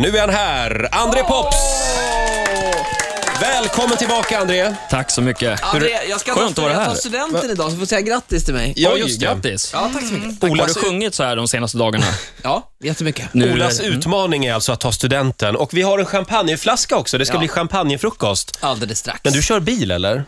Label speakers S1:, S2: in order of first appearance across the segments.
S1: Nu är han här, André Pops! Välkommen tillbaka André!
S2: Tack så mycket.
S3: André, jag ska
S2: Skönt att vara
S3: ta, jag
S2: här.
S3: tar studenten idag, så du får säga grattis till mig.
S1: Ja,
S2: Oj,
S1: just det.
S2: grattis.
S3: Ja, tack så mycket.
S1: Olas,
S2: Har du sjungit så här de senaste dagarna?
S3: Ja, jättemycket.
S2: Nu
S1: Olas utmaning är alltså att ta studenten. Och vi har en champagneflaska också. Det ska
S3: Ja.
S1: bli champagnefrukost.
S3: Oh, Alldeles strax.
S1: Men du kör bil eller?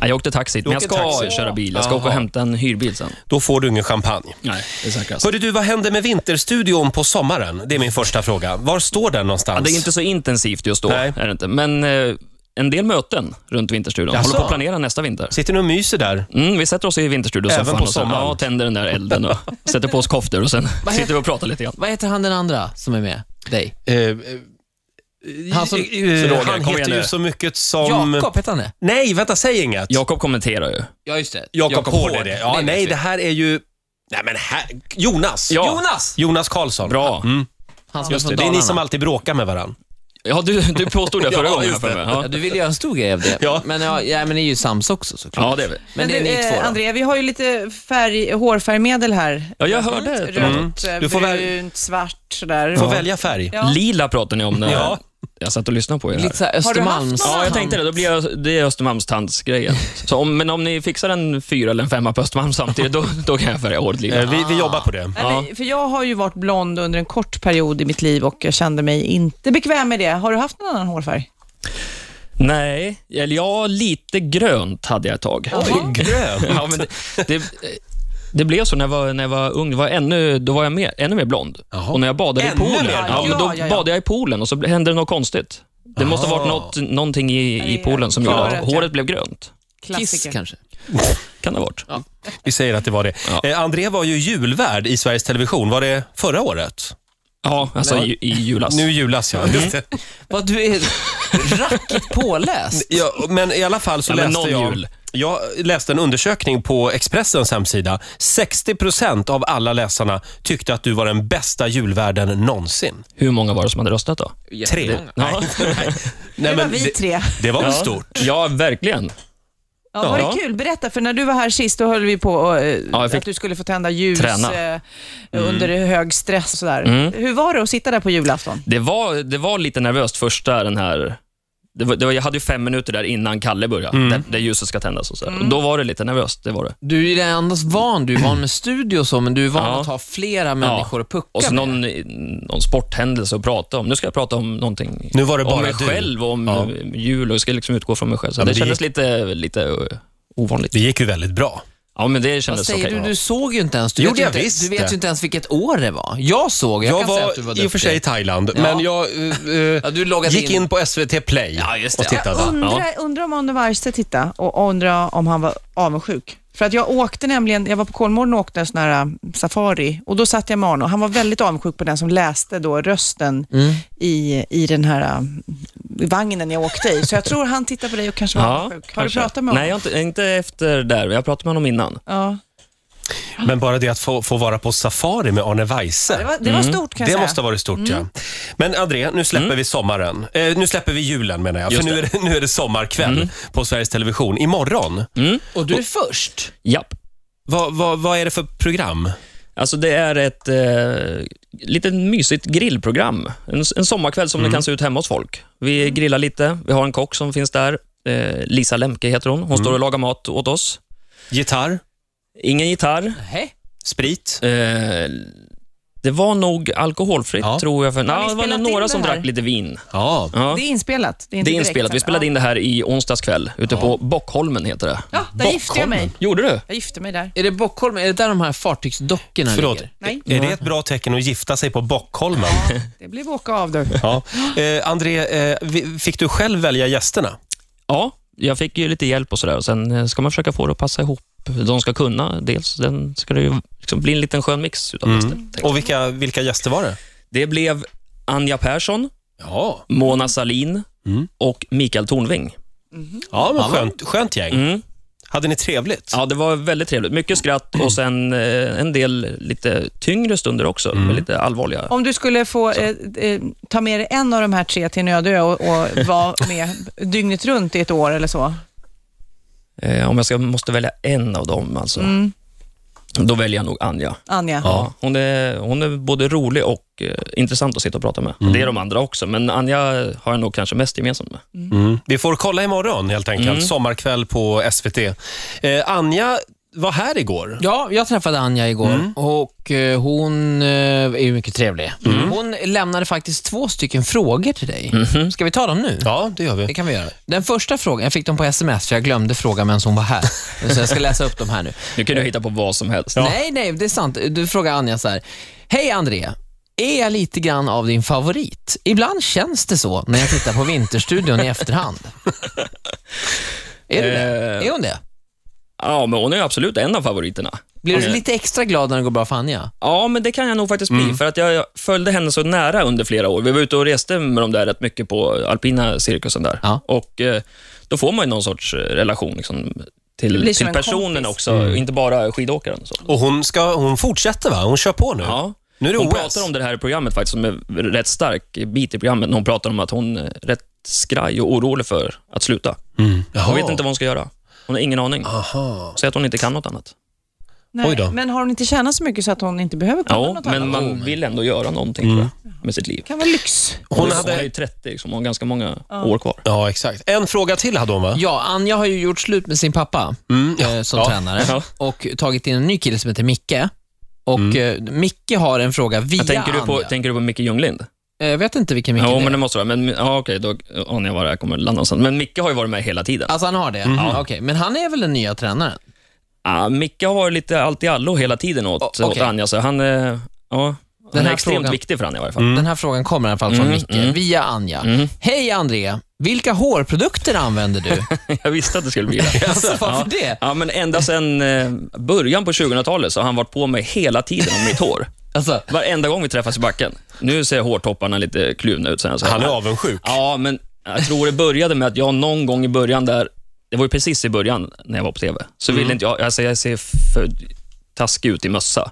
S2: Nej, jag åkte taxi, men jag ska
S1: åker taxi.
S2: taxi. köra bil. Jag ska
S1: Jaha.
S2: åka och hämta en hyrbil sen.
S1: Då får du ingen champagne.
S2: Nej, det är säkrast.
S1: Hörde du, vad händer med Vinterstudion på sommaren? Det är min första fråga. Var står den någonstans?
S2: Ja, det är inte så intensivt just då,
S1: Nej.
S2: är det inte. men eh, en del möten runt Vinterstudion.
S1: Jaså?
S2: Håller på att planera nästa vinter.
S1: Sitter ni och myser där?
S2: Mm, vi sätter oss i Vinterstudion-soffan
S1: Även på
S2: och sen-
S1: sommaren?
S2: ja, tänder den där elden och sätter på oss koftor och sen sitter vi och pratar lite grann.
S3: Vad heter han den andra som är med dig?
S1: Eh,
S3: Han som-
S2: Roger,
S1: han
S2: kom igen
S1: heter ju
S2: nu.
S1: så mycket som...
S3: Jakob, heter han det?
S1: Nej, vänta, säg inget.
S2: Jakob kommenterar ju.
S3: Ja, just det.
S1: Jakob Hård är det. Ja,
S3: vet
S1: nej,
S3: vi.
S1: det här är ju... Nej, men här... Jonas!
S2: Ja.
S3: Jonas!
S1: Jonas Karlsson.
S2: Bra.
S3: Han som
S1: Just det,
S3: från
S1: det är ni
S3: Dalarna.
S1: som alltid bråkar med varandra.
S2: Ja, du, du påstod det förra
S1: Ja,
S2: gången.
S1: just
S2: här för
S1: det.
S2: mig.
S3: Ja,
S2: Ja.
S3: du ville göra en stor grej av det.
S1: Ja.
S3: Men ja, ja, men ni är ju sams också såklart.
S2: ja, det är vi.
S3: Men, det är
S4: du,
S3: ni
S4: eh,
S3: två då?
S4: André, vi har ju lite färg, hårfärgmedel här.
S2: Ja, jag hörde
S4: Rött,
S2: det.
S4: eh,
S1: Du får väl-
S4: brunt, svart sådär.
S1: Får välja färg.
S4: Ja.
S2: Lila pratar ni om när
S1: Ja.
S2: jag satt och lyssnade på er. Här.
S3: Lite såhär
S4: Har du haft
S3: Östermalms...
S4: någon?
S2: Ja, jag tänkte det. Då blir jag, det är Östermalmstandsgrejen. Så om, men om ni fixar en fyra eller en femma på Östermalm samtidigt, då, då kan jag färga håret lite.
S1: Eh, Vi, vi jobbar på det.
S4: Nej, men, För jag har ju varit blond under en kort period i mitt liv och jag kände mig inte bekväm med det. Har du haft någon annan hårfärg?
S2: Nej, eller ja, lite grönt hade jag ett tag.
S1: Oj, grön.
S2: Ja, men det, det, det blev så när jag var, när jag var ung. Det Var ännu, då var jag mer, ännu mer blond.
S1: Jaha.
S2: Och när jag badade
S1: Ännu
S2: i poolen,
S1: mer
S2: ja,
S1: blond?
S2: men då
S4: Ja, ja, ja.
S2: badade jag i poolen och så hände det något konstigt. Det måste ha varit
S1: Jaha.
S2: något, någonting i, i poolen som gjorde att
S4: Håret, ja.
S2: håret blev grönt.
S3: Kiss
S4: Klassiker.
S3: kanske.
S2: Kan det ha varit.
S1: Vi säger att det var det. Eh, André var ju julvärd i Sveriges Television. Var det förra året?
S2: Ja, alltså i, i julas.
S1: Nu i julas, ja. Just det.
S3: Vad du är rackigt påläst.
S1: ja. Men i alla fall så
S2: Ja, men
S1: läste
S2: någon
S1: jag...
S2: jul.
S1: Jag läste en undersökning på Expressens hemsida. 60 av alla läsarna tyckte att du var den bästa julvärden någonsin.
S2: Hur många var det som hade röstat då?
S1: Tre.
S2: Ja.
S1: Nej,
S4: Det var vi
S1: det,
S4: tre.
S1: det var väl
S2: Ja.
S1: stort?
S2: Ja, verkligen.
S4: Ja, var
S2: Ja.
S4: det kul? Berätta, för när du var här sist då höll vi på och, eh,
S2: jag fick
S4: att du skulle få tända ljus
S2: träna.
S4: eh, under hög stress och sådär. Hur var det att sitta där på julafton?
S2: Det var, det var lite nervöst första den här... Det var, det var, jag hade ju fem minuter där innan Kalle började, där, där ljuset ska tändas. Och så där. Och Då var det lite nervöst. Det var det.
S3: Du är ju endast van, du är van med studio och så, men du är van
S2: Ja.
S3: att ha flera människor att pucka
S2: Och så
S3: med.
S2: någon, någon sporthändelse att prata om. Nu ska jag prata om någonting
S1: Nu var det bara
S2: om mig
S1: du.
S2: själv och om
S1: Ja.
S2: jul och jag ska liksom utgå från mig själv. Så
S1: Ja, men
S2: det,
S1: det
S2: kändes lite, lite eh, ovanligt.
S1: Det gick ju väldigt bra.
S2: Ja, men det
S3: Vad
S2: kändes okej.
S3: säger du? Du såg ju inte ens. Du
S1: Gjorde
S3: vet ju
S1: Alltså, jag
S3: inte,
S1: visst
S3: Du
S1: det.
S3: vet ju inte ens vilket år det var. Jag såg. Jag,
S1: Jag,
S3: kan säga att du var
S1: var i
S3: duktig.
S1: och för sig i Thailand, men jag eh, eh,
S3: Ja, du loggade
S1: gick in.
S3: in
S1: på SVT Play
S2: Ja, just det.
S1: och tittade.
S4: Undra, undra om Anders Wargstedt tittade och undra om han var avundsjuk. För att jag åkte nämligen, jag var på Kolmården och åkte en sån här um, safari och då satt jag med honom. Han var väldigt avundsjuk på den som läste då rösten
S2: Mm.
S4: i, i den här um, vagnen jag åkte i. Så jag tror han tittar på dig och kanske var avundsjuk. Har
S2: kanske.
S4: du pratat med honom?
S2: Nej, jag har inte, inte efter där. Jag pratade med honom innan.
S4: Ja.
S1: Men bara det att få, få vara på safari med Arne Weise.
S4: Det var, det var
S2: Mm.
S4: stort kan jag
S1: Det
S4: säga.
S1: måste ha varit stort, ja. Men André, nu släpper vi sommaren. Eh, nu släpper vi julen menar jag, för
S2: Just
S1: nu är, det, nu är det sommarkväll på Sveriges Television. Imorgon,
S3: Och du är först.
S2: Japp.
S1: vad, vad, vad är det för program?
S2: Alltså det är ett eh, litet mysigt grillprogram. En, en sommarkväll som
S1: Mm.
S2: det kan se ut hemma hos folk. Vi grillar lite, vi har en kock som finns där. Eh, Lisa Lemke heter hon. Hon
S1: Mm.
S2: står och lagar mat åt oss.
S1: Gitarr?
S2: Ingen gitarr.
S3: Nej.
S1: Sprit?
S2: Eh, det var nog alkoholfritt,
S1: Ja.
S2: tror jag. För,
S4: ni
S2: nej, det var
S4: spelat in
S2: några
S4: det
S2: som
S4: här?
S2: drack lite vin.
S1: Ja.
S2: Ja.
S4: Det är inspelat. Det är, inte
S2: Det är
S4: direkt
S2: inspelat. Vi
S4: sänt.
S2: spelade in det här i onsdags kväll ute
S1: Ja.
S2: på Bockholmen. heter det.
S4: Ja, där gifte jag mig.
S2: Gjorde du?
S4: Jag gifte mig där.
S3: Är det Bockholm? Är det där de här fartygsdockorna
S1: Förlåt,
S3: ligger?
S4: Nej,
S1: är det ett bra tecken att gifta sig på Bockholmen?
S4: det blev åka av du.
S1: Ja. Eh, André, eh, vi- fick du själv välja gästerna?
S2: Ja, jag fick ju lite hjälp och sådär. Och Sen eh, ska man försöka få det att passa ihop. De ska kunna, dels den ska det ju liksom bli en liten skön mix utav gäster. tänkte jag.
S1: Och vilka, vilka gäster var det?
S2: Det blev Anja Persson,
S1: Ja,
S2: Mona Salin och Mikael Tornving.
S1: ja men skönt, skönt gäng.
S2: Mm.
S1: Hade ni trevligt?
S2: Ja, det var väldigt trevligt. Mycket skratt och sen eh, en del lite tyngre stunder också, med lite allvarliga.
S4: Om du skulle få eh, eh, ta med dig en av de här tre till en öde ö och, och vara med dygnet runt i ett år eller så.
S2: Eh, om jag ska, måste välja en av dem alltså. Då väljer jag nog Anja.
S4: Anja.
S2: Ja, hon, är, hon är både rolig och eh, intressant att sitta och prata med.
S4: Mm.
S2: Det är de andra också, men Anja har jag nog kanske mest gemensamt med.
S1: Mm. Vi får kolla imorgon helt enkelt.
S2: Mm.
S1: Sommarkväll på SVT. Eh, Anja var här igår.
S3: Ja, jag träffade Anja igår
S1: Mm.
S3: och eh, hon eh, är ju mycket trevlig.
S1: Mm.
S3: Hon lämnade faktiskt två stycken frågor till dig. Ska vi ta dem nu?
S1: Mhm. Ja, det gör
S3: Det
S1: vi.
S3: kan vi göra. Den första frågan, jag fick dem på sms för jag glömde fråga medan hon var här. Så jag ska läsa upp dem här nu.
S2: Nu
S4: Eh.
S2: kan du hitta på vad som helst.
S3: Nej, nej, det är sant. Du frågar Anja så här. Hej Andrea, är jag lite grann av din favorit? Ibland känns det så när jag tittar på Vinterstudion i efterhand. Är, du
S2: Eh,
S3: det? är hon det?
S2: Ja, men hon är absolut en av favoriterna.
S3: Blir du lite extra glad när det går bra för Anja?
S2: Ja, men det kan jag nog faktiskt bli,
S4: Mm.
S2: för att jag följde henne så nära under flera år. Vi var ute och reste med dem där rätt mycket på alpina cirkusen där.
S3: Ja.
S2: Och eh, då får man ju någon sorts eh, relation liksom,
S4: blir
S2: till,
S4: som
S2: till
S4: en
S2: personen
S4: kompis. Mm.
S2: också, inte bara skidåkaren. Så.
S1: Och hon, ska, hon fortsätter va? Hon kör på nu.
S2: Ja.
S1: Nu är det
S2: Hon
S1: OS.
S2: pratar om det här i programmet faktiskt, som är rätt stark bit i programmet, när hon pratar om att hon är rätt skraj och orolig för att sluta.
S1: Mm.
S2: Hon
S1: Jaha.
S2: vet inte vad hon ska göra. Hon har ingen aning.
S1: Aha.
S2: Säger att hon inte kan något annat.
S4: Nej,
S1: Oj då.
S4: Men har hon inte tjänat så mycket så att hon inte behöver kolla
S2: Ja,
S4: något
S2: men
S4: annat?
S2: man vill ändå göra någonting tror jag, med sitt liv.
S4: Det kan vara lyx.
S2: Hon,
S1: Hon
S2: är- hon är
S1: hade...
S2: ju 30, liksom, hon har ganska många år kvar.
S1: Ja, exakt. En fråga till hade hon va? Mm.
S3: Ja, Anja har ju gjort slut med sin pappa eh, som
S1: Ja.
S3: tränare
S2: Ja. Mm.
S3: och tagit in en ny kille som heter Micke. Och eh, Micke har en fråga via
S2: Jag tänker, du på,
S3: Anja.
S2: tänker du på Micke Ljunglind?
S3: Jag vet inte vilken Micke
S2: Ja,
S3: det är.
S2: men det måste vara. Men, ja, okej, då anar jag var det här kommer landa någonstans. Men Micke har ju varit med hela tiden.
S3: Alltså han har det?
S2: Mm.
S3: Ja, okej. Men han är väl den nya tränaren?
S2: Ja, Micke har varit lite allt i allo hela tiden åt,
S3: O- okej.
S2: åt Anja, så han, eh, ja, han
S3: här
S2: är extremt
S3: frågan-
S2: viktig för Anja i varje fall.
S3: Den här frågan kommer i alla fall från
S2: Mm,
S3: Micke,
S2: mm.
S3: via Anja. Hej André, vilka hårprodukter använder du?
S2: Jag visste att det skulle bli det.
S3: alltså, varför det?
S2: Ja, men ända sedan eh, början på 2000-talet så har han varit på mig hela tiden om mitt hår.
S3: Alltså,
S2: Varenda gång vi träffas i backen. Nu ser hårtopparna lite kluvna ut. Sen, så här.
S1: Han är avundsjuk.
S2: Ja, men jag tror det började med att jag någon gång i början där, det var ju precis i början när jag var på TV, så
S4: Mm.
S2: ville inte jag, alltså jag ser för taskig ut i mössa.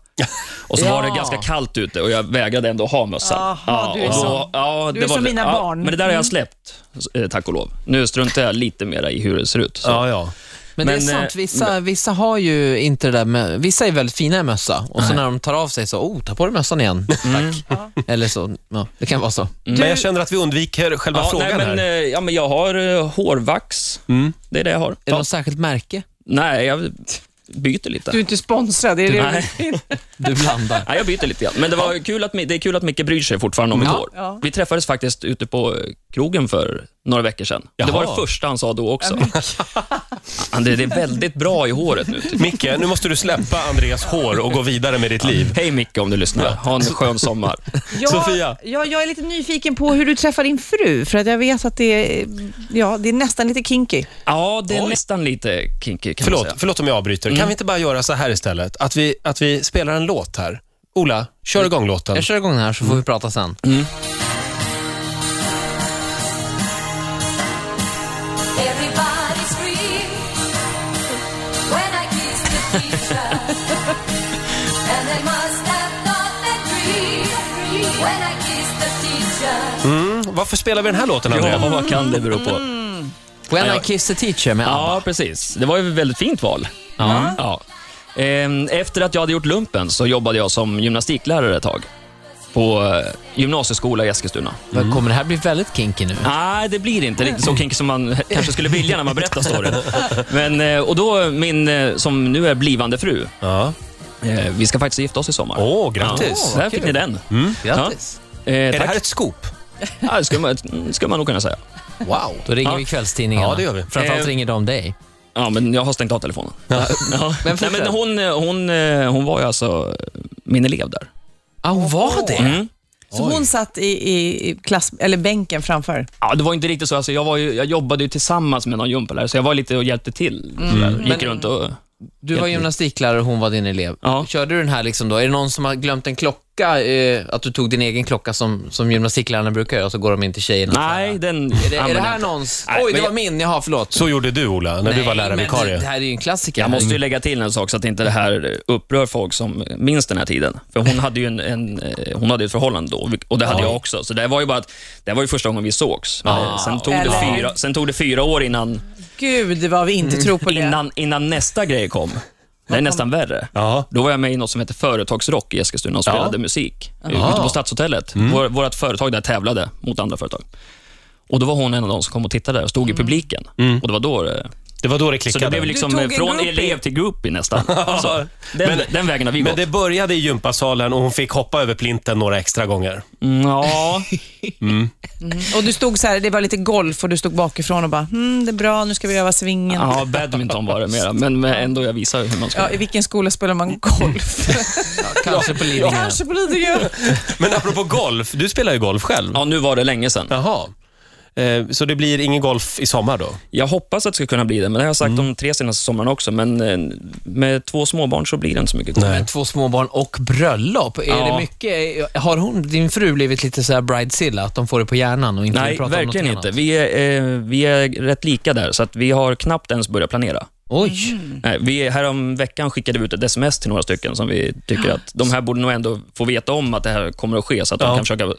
S2: Och så var det
S3: Ja.
S2: ganska kallt ute och jag vägrade ändå ha mössan.
S4: Jaha, du är
S2: och
S4: som-
S2: ja,
S4: du är som mina barn. Mm.
S2: Men det där har jag släppt, eh, tack och lov. Nu struntar jag lite mera i hur det ser ut. Så.
S1: Ja, ja.
S3: men, det
S2: Men,
S3: är
S2: eh,
S3: sant, vissa, vissa har ju inte det där med, vissa är väldigt fina i mössa och så när de tar av sig så, oh, ta på dig mössan igen, tack.
S2: Mm.
S3: Eller så, ja, det kan vara så.
S1: Men jag känner att vi undviker själva
S2: Ja,
S1: frågan
S2: nej, men,
S1: här. Mm.
S2: eh, ja, men jag har eh, hårvax. Det är det jag har.
S3: Är det något särskilt märke
S2: Nej, jag byter lite.
S4: Du är inte sponsrad, är det
S2: Nej.
S4: det
S3: du blandar?
S2: Ja, jag byter lite grann. Men det, var kul att, Mi- det är kul att Micke bryr sig fortfarande om mitt
S3: Ja.
S2: hår.
S4: Ja.
S2: Vi träffades faktiskt ute på eh, krogen för några veckor sedan. Det var
S1: Jaha.
S2: det första han sa då också. Han, det, det är väldigt bra i håret nu. tycker jag.
S1: Micke, nu måste du släppa Andreas hår och gå vidare med ditt liv.
S2: Hej Micke om du lyssnar. Ha en skön sommar.
S4: jag,
S1: Sofia.
S4: Jag, jag är lite nyfiken på hur du träffar din fru, för att jag vet att det är, ja, det är nästan lite kinky.
S2: Ja, det är
S1: Oj.
S2: nästan lite kinky kan man
S1: Förlåt,
S2: säga.
S1: förlåt om jag avbryter. Kan vi inte bara göra så här istället? Att vi, att vi spelar en låt här. Ola, kör igång låten.
S3: Jag kör igång den här så får vi prata sen.
S2: Mm.
S5: Everybody scream when I kiss the teacher. and they must have thought that dream when I kiss the teacher.
S1: Mm, varför spelar vi den här låten,
S2: Ja,
S1: Andrea?
S2: vad kan det bero på?
S3: When
S2: Ja,
S3: I
S2: ja.
S3: kiss the teacher med ABBA.
S2: Ja, precis. Det var ju ett väldigt fint val. Ja. Ehm, Efter att jag hade gjort lumpen så jobbade jag som gymnastiklärare ett tag på eh, gymnasieskola i Eskilstuna.
S3: Kommer det här bli väldigt kinky nu?
S2: Nej, det blir inte riktigt så kinky som man kanske skulle vilja när man berättar storyn. Men, eh, och då min, eh, som nu är blivande fru,
S1: Ja.
S2: eh, vi ska faktiskt gifta oss i sommar.
S1: Åh, grattis.
S2: Ja, där fick ni den. Mm.
S3: Grattis.
S2: Ja. Eh,
S1: Är det
S2: tack.
S1: här ett scoop?
S2: Ja, det skulle man, skulle man nog kunna säga.
S1: Wow.
S3: Då ringer
S2: Ja.
S3: vi kvällstidningarna.
S1: Ja, det gör vi.
S3: Framförallt
S2: Eh,
S3: ringer de dig.
S2: Ja, men jag har stängt av telefonen. Ja.
S3: Men
S2: Men Nej,
S3: fortsätt.
S2: men hon, eh, hon, eh, hon var ju alltså eh, min elev där.
S3: Ah, hon var det?
S2: Mm.
S4: Så hon satt i, i i klass, eller bänken framför.
S2: Ja, det var inte riktigt så. Alltså, jag, var ju, jag jobbade ju tillsammans med någon gympalärare, så jag var lite och hjälpte till. sådär. Gick
S3: Mm. Men-
S2: runt och...
S3: Du var gymnastiklärare och hon var din elev.
S2: Ja.
S3: Körde du den här liksom då? Är det någon som har glömt en klocka? Eh, att du tog din egen klocka som, som gymnastiklärarna brukar göra, så går de in till tjejerna?
S2: Nej, den...
S3: Är det, är det här någons?
S2: Nej,
S3: Oj,
S2: men
S3: det var
S2: jag-
S3: min. Jaha, förlåt.
S1: Så gjorde du, Ola, när du var
S3: Nej, men Det, det
S1: lärarvikarie.
S3: här är ju en klassiker.
S2: Jag måste ju lägga till en sak så att inte det här upprör folk som minns den här tiden. För hon hade ju en, en, eh, hon hade ett förhållande då och det hade jag också. Så det var ju bara att, det var ju första gången vi sågs.
S3: Ah.
S2: Men, eh, sen, tog det
S4: Eller-
S2: fyra, sen tog det fyra år innan, Mm.
S4: Gud vad vi inte tror på det.
S2: innan, innan nästa grej kom. Det är nästan värre.
S1: Ja.
S2: Då var jag med i något som heter Företagsrock i Eskilstuna och spelade musik Aha. ute på Stadshotellet.
S1: Mm.
S2: Vår, vårt företag där tävlade mot andra företag. Och Då var hon en av de som kom och tittade där och
S1: Mm.
S2: stod i publiken. Och det var då det-
S1: Det var då det
S2: Så
S1: klickade.
S2: det blev liksom
S4: tog
S2: eh,
S4: en
S2: från
S4: groupie.
S2: elev till groupie nästan. Så, den,
S1: Men-
S2: den vägen har vi
S1: Men
S2: gått.
S1: det började i gympasalen och hon fick hoppa över plinten några extra gånger.
S2: Mm, Ja,
S4: Och du stod så här, det var lite golf och du stod bakifrån och bara, mm, det är bra, nu ska vi öva svingen.
S2: ja, badminton var det mera, men men ändå jag visar hur man ska.
S4: Ja, I vilken skola spelar man golf?
S3: Kanske på Lidingö.
S4: Kanske på Lidingö.
S1: Men apropå golf, du spelar ju golf själv.
S2: Ja, nu var det länge sedan.
S1: Jaha. Eh, Så det blir ingen golf i sommar då?
S2: Jag hoppas att det ska kunna bli det, men det har jag
S1: Mm.
S2: sagt de tre senaste somrarna också. Men eh, med två småbarn så blir det inte så mycket.
S1: Nej.
S2: Nej.
S3: Två småbarn och bröllop. Är
S2: Ja.
S3: det mycket, har hon, din fru blivit lite så här bridezilla, att de får det på hjärnan och inte
S2: Nej,
S3: vill prata om
S2: verkligen
S3: någonting
S2: inte.
S3: Annat?
S2: Vi är, eh, vi är rätt lika där, så att vi har knappt ens börjat planera.
S3: Oj,
S2: Nej, vi, härom veckan skickade vi ut ett sms till några stycken som vi tycker att de här borde nog ändå få veta om att det här kommer att ske, så att
S1: Ja.
S2: de kan försöka...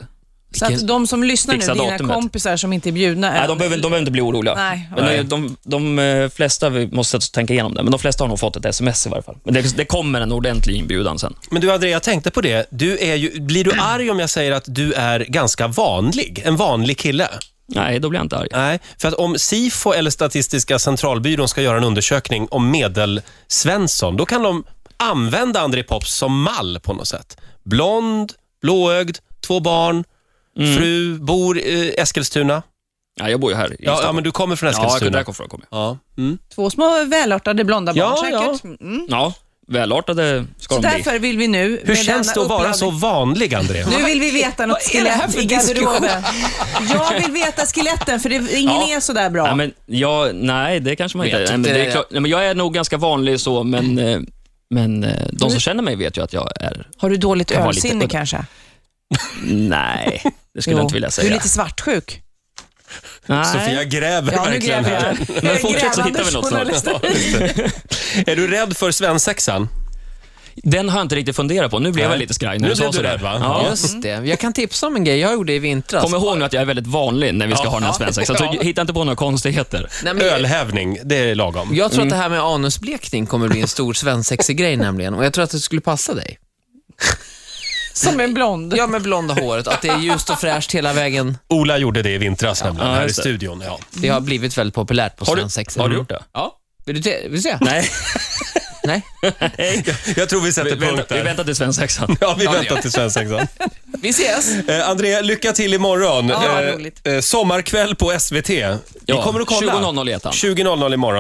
S4: Så att de som lyssnar nu,
S2: Fixa
S4: dina
S2: datumet.
S4: kompisar som inte är bjudna.
S2: Nej, de behöver, de behöver inte bli oroliga.
S4: Nej,
S2: men
S1: okej.
S2: de, de, de eh, flesta, vi måste tänka igenom det, men de flesta har nog fått ett sms i varje fall. Men det, det kommer en ordentlig inbjudan sen.
S1: Men du Andrea, jag tänkte på det. Du är ju, blir du arg om jag säger att du är ganska vanlig? En vanlig kille?
S2: Nej, då blir jag inte arg.
S1: Nej, för att om SIFO eller Statistiska centralbyrån ska göra en undersökning om medelsvensson, då kan de använda André Pops som mall på något sätt. Blond, blåögd, två barn,
S4: Mm.
S1: fru, bor i Eskilstuna.
S2: Ja, jag bor ju här i
S1: Ja, ja,
S2: Stockholm.
S1: men du kommer från
S2: ja jag- där
S1: Eskilstuna.
S2: kom från, kom jag.
S1: Ja, mm.
S4: Två små välartade blonda
S1: Ja,
S4: barn
S1: ja.
S4: säkert. Mm.
S2: Ja, välartade ska
S4: Så
S2: de bli.
S4: därför vill vi nu...
S1: Hur
S4: med
S1: känns
S4: denna
S1: det att vara
S4: uppladdning-
S1: så vanlig, André?
S4: Nu vill vi veta något
S3: Vad är det här
S4: skelett
S3: för
S4: i garderoben. Jag vill veta skeletten, för det, ingen
S2: Ja.
S4: är sådär bra.
S2: Nej, men jag, nej, det kanske man
S3: Men
S2: inte
S3: jag
S2: är. Nej, men
S3: tyckte
S2: det
S3: det-
S2: är klart, nej, men jag är nog ganska vanlig så, men, eh, men eh, de som känner mig vet ju att jag är...
S4: Har du dåligt
S2: Jag har lite-
S4: ölsinne kanske?
S2: Nej, det skulle jag inte vilja
S4: Du är
S2: säga.
S4: lite svartsjuk.
S2: Nej.
S1: Sofia gräver
S4: Ja, nu
S1: verkligen
S4: gräver
S1: här.
S4: jag.
S2: Men fortsätt så
S4: Grävande
S2: hittar vi något
S4: journalist.
S2: snart.
S1: Är du rädd för svensexan?
S2: Den har jag inte riktigt funderat på. Nu blev
S1: Nej.
S2: jag lite skraj
S1: Nu
S2: när du
S1: blev
S2: sa
S1: du
S2: sådär.
S1: rädd, va?
S2: Ja.
S3: just det. Jag kan tipsa om en grej jag gjorde i vintras.
S2: Kom ihåg nu att jag är väldigt vanlig när vi ska
S1: Ja.
S2: ha den här svensexan, så
S1: Ja.
S2: hitta inte på några konstigheter.
S3: Nej, men-
S1: Ölhävning, det är lagom.
S3: Jag
S2: Mm.
S3: tror att det här med anusblekning kommer bli en stor svensexig grej nämligen och jag tror att det skulle passa dig.
S4: Som en blond.
S3: Ja, med blonda håret, att det är ljust och fräscht hela vägen.
S1: Ola gjorde det i vintras nämligen,
S2: Ja,
S1: här i
S2: just det.
S1: studion. Ja.
S3: Det har blivit väldigt populärt på
S2: Har du-
S3: svensexor.
S2: har du gjort det?
S3: Ja. Vill du, te- vill du se?
S2: Nej,
S3: Nej.
S1: Jag tror vi
S2: vi
S1: sätter punkt
S2: väntar, vi
S1: där.
S2: väntar till svensexan.
S1: Ja, vi väntar till svensexan.
S3: Vi ses!
S1: Eh, André, lycka till imorgon.
S4: Ja, roligt.
S1: eh, sommarkväll på SVT. Vi
S2: Ja,
S1: kommer att kolla.
S2: 20.00 i ettan.
S1: 20.00 imorgon.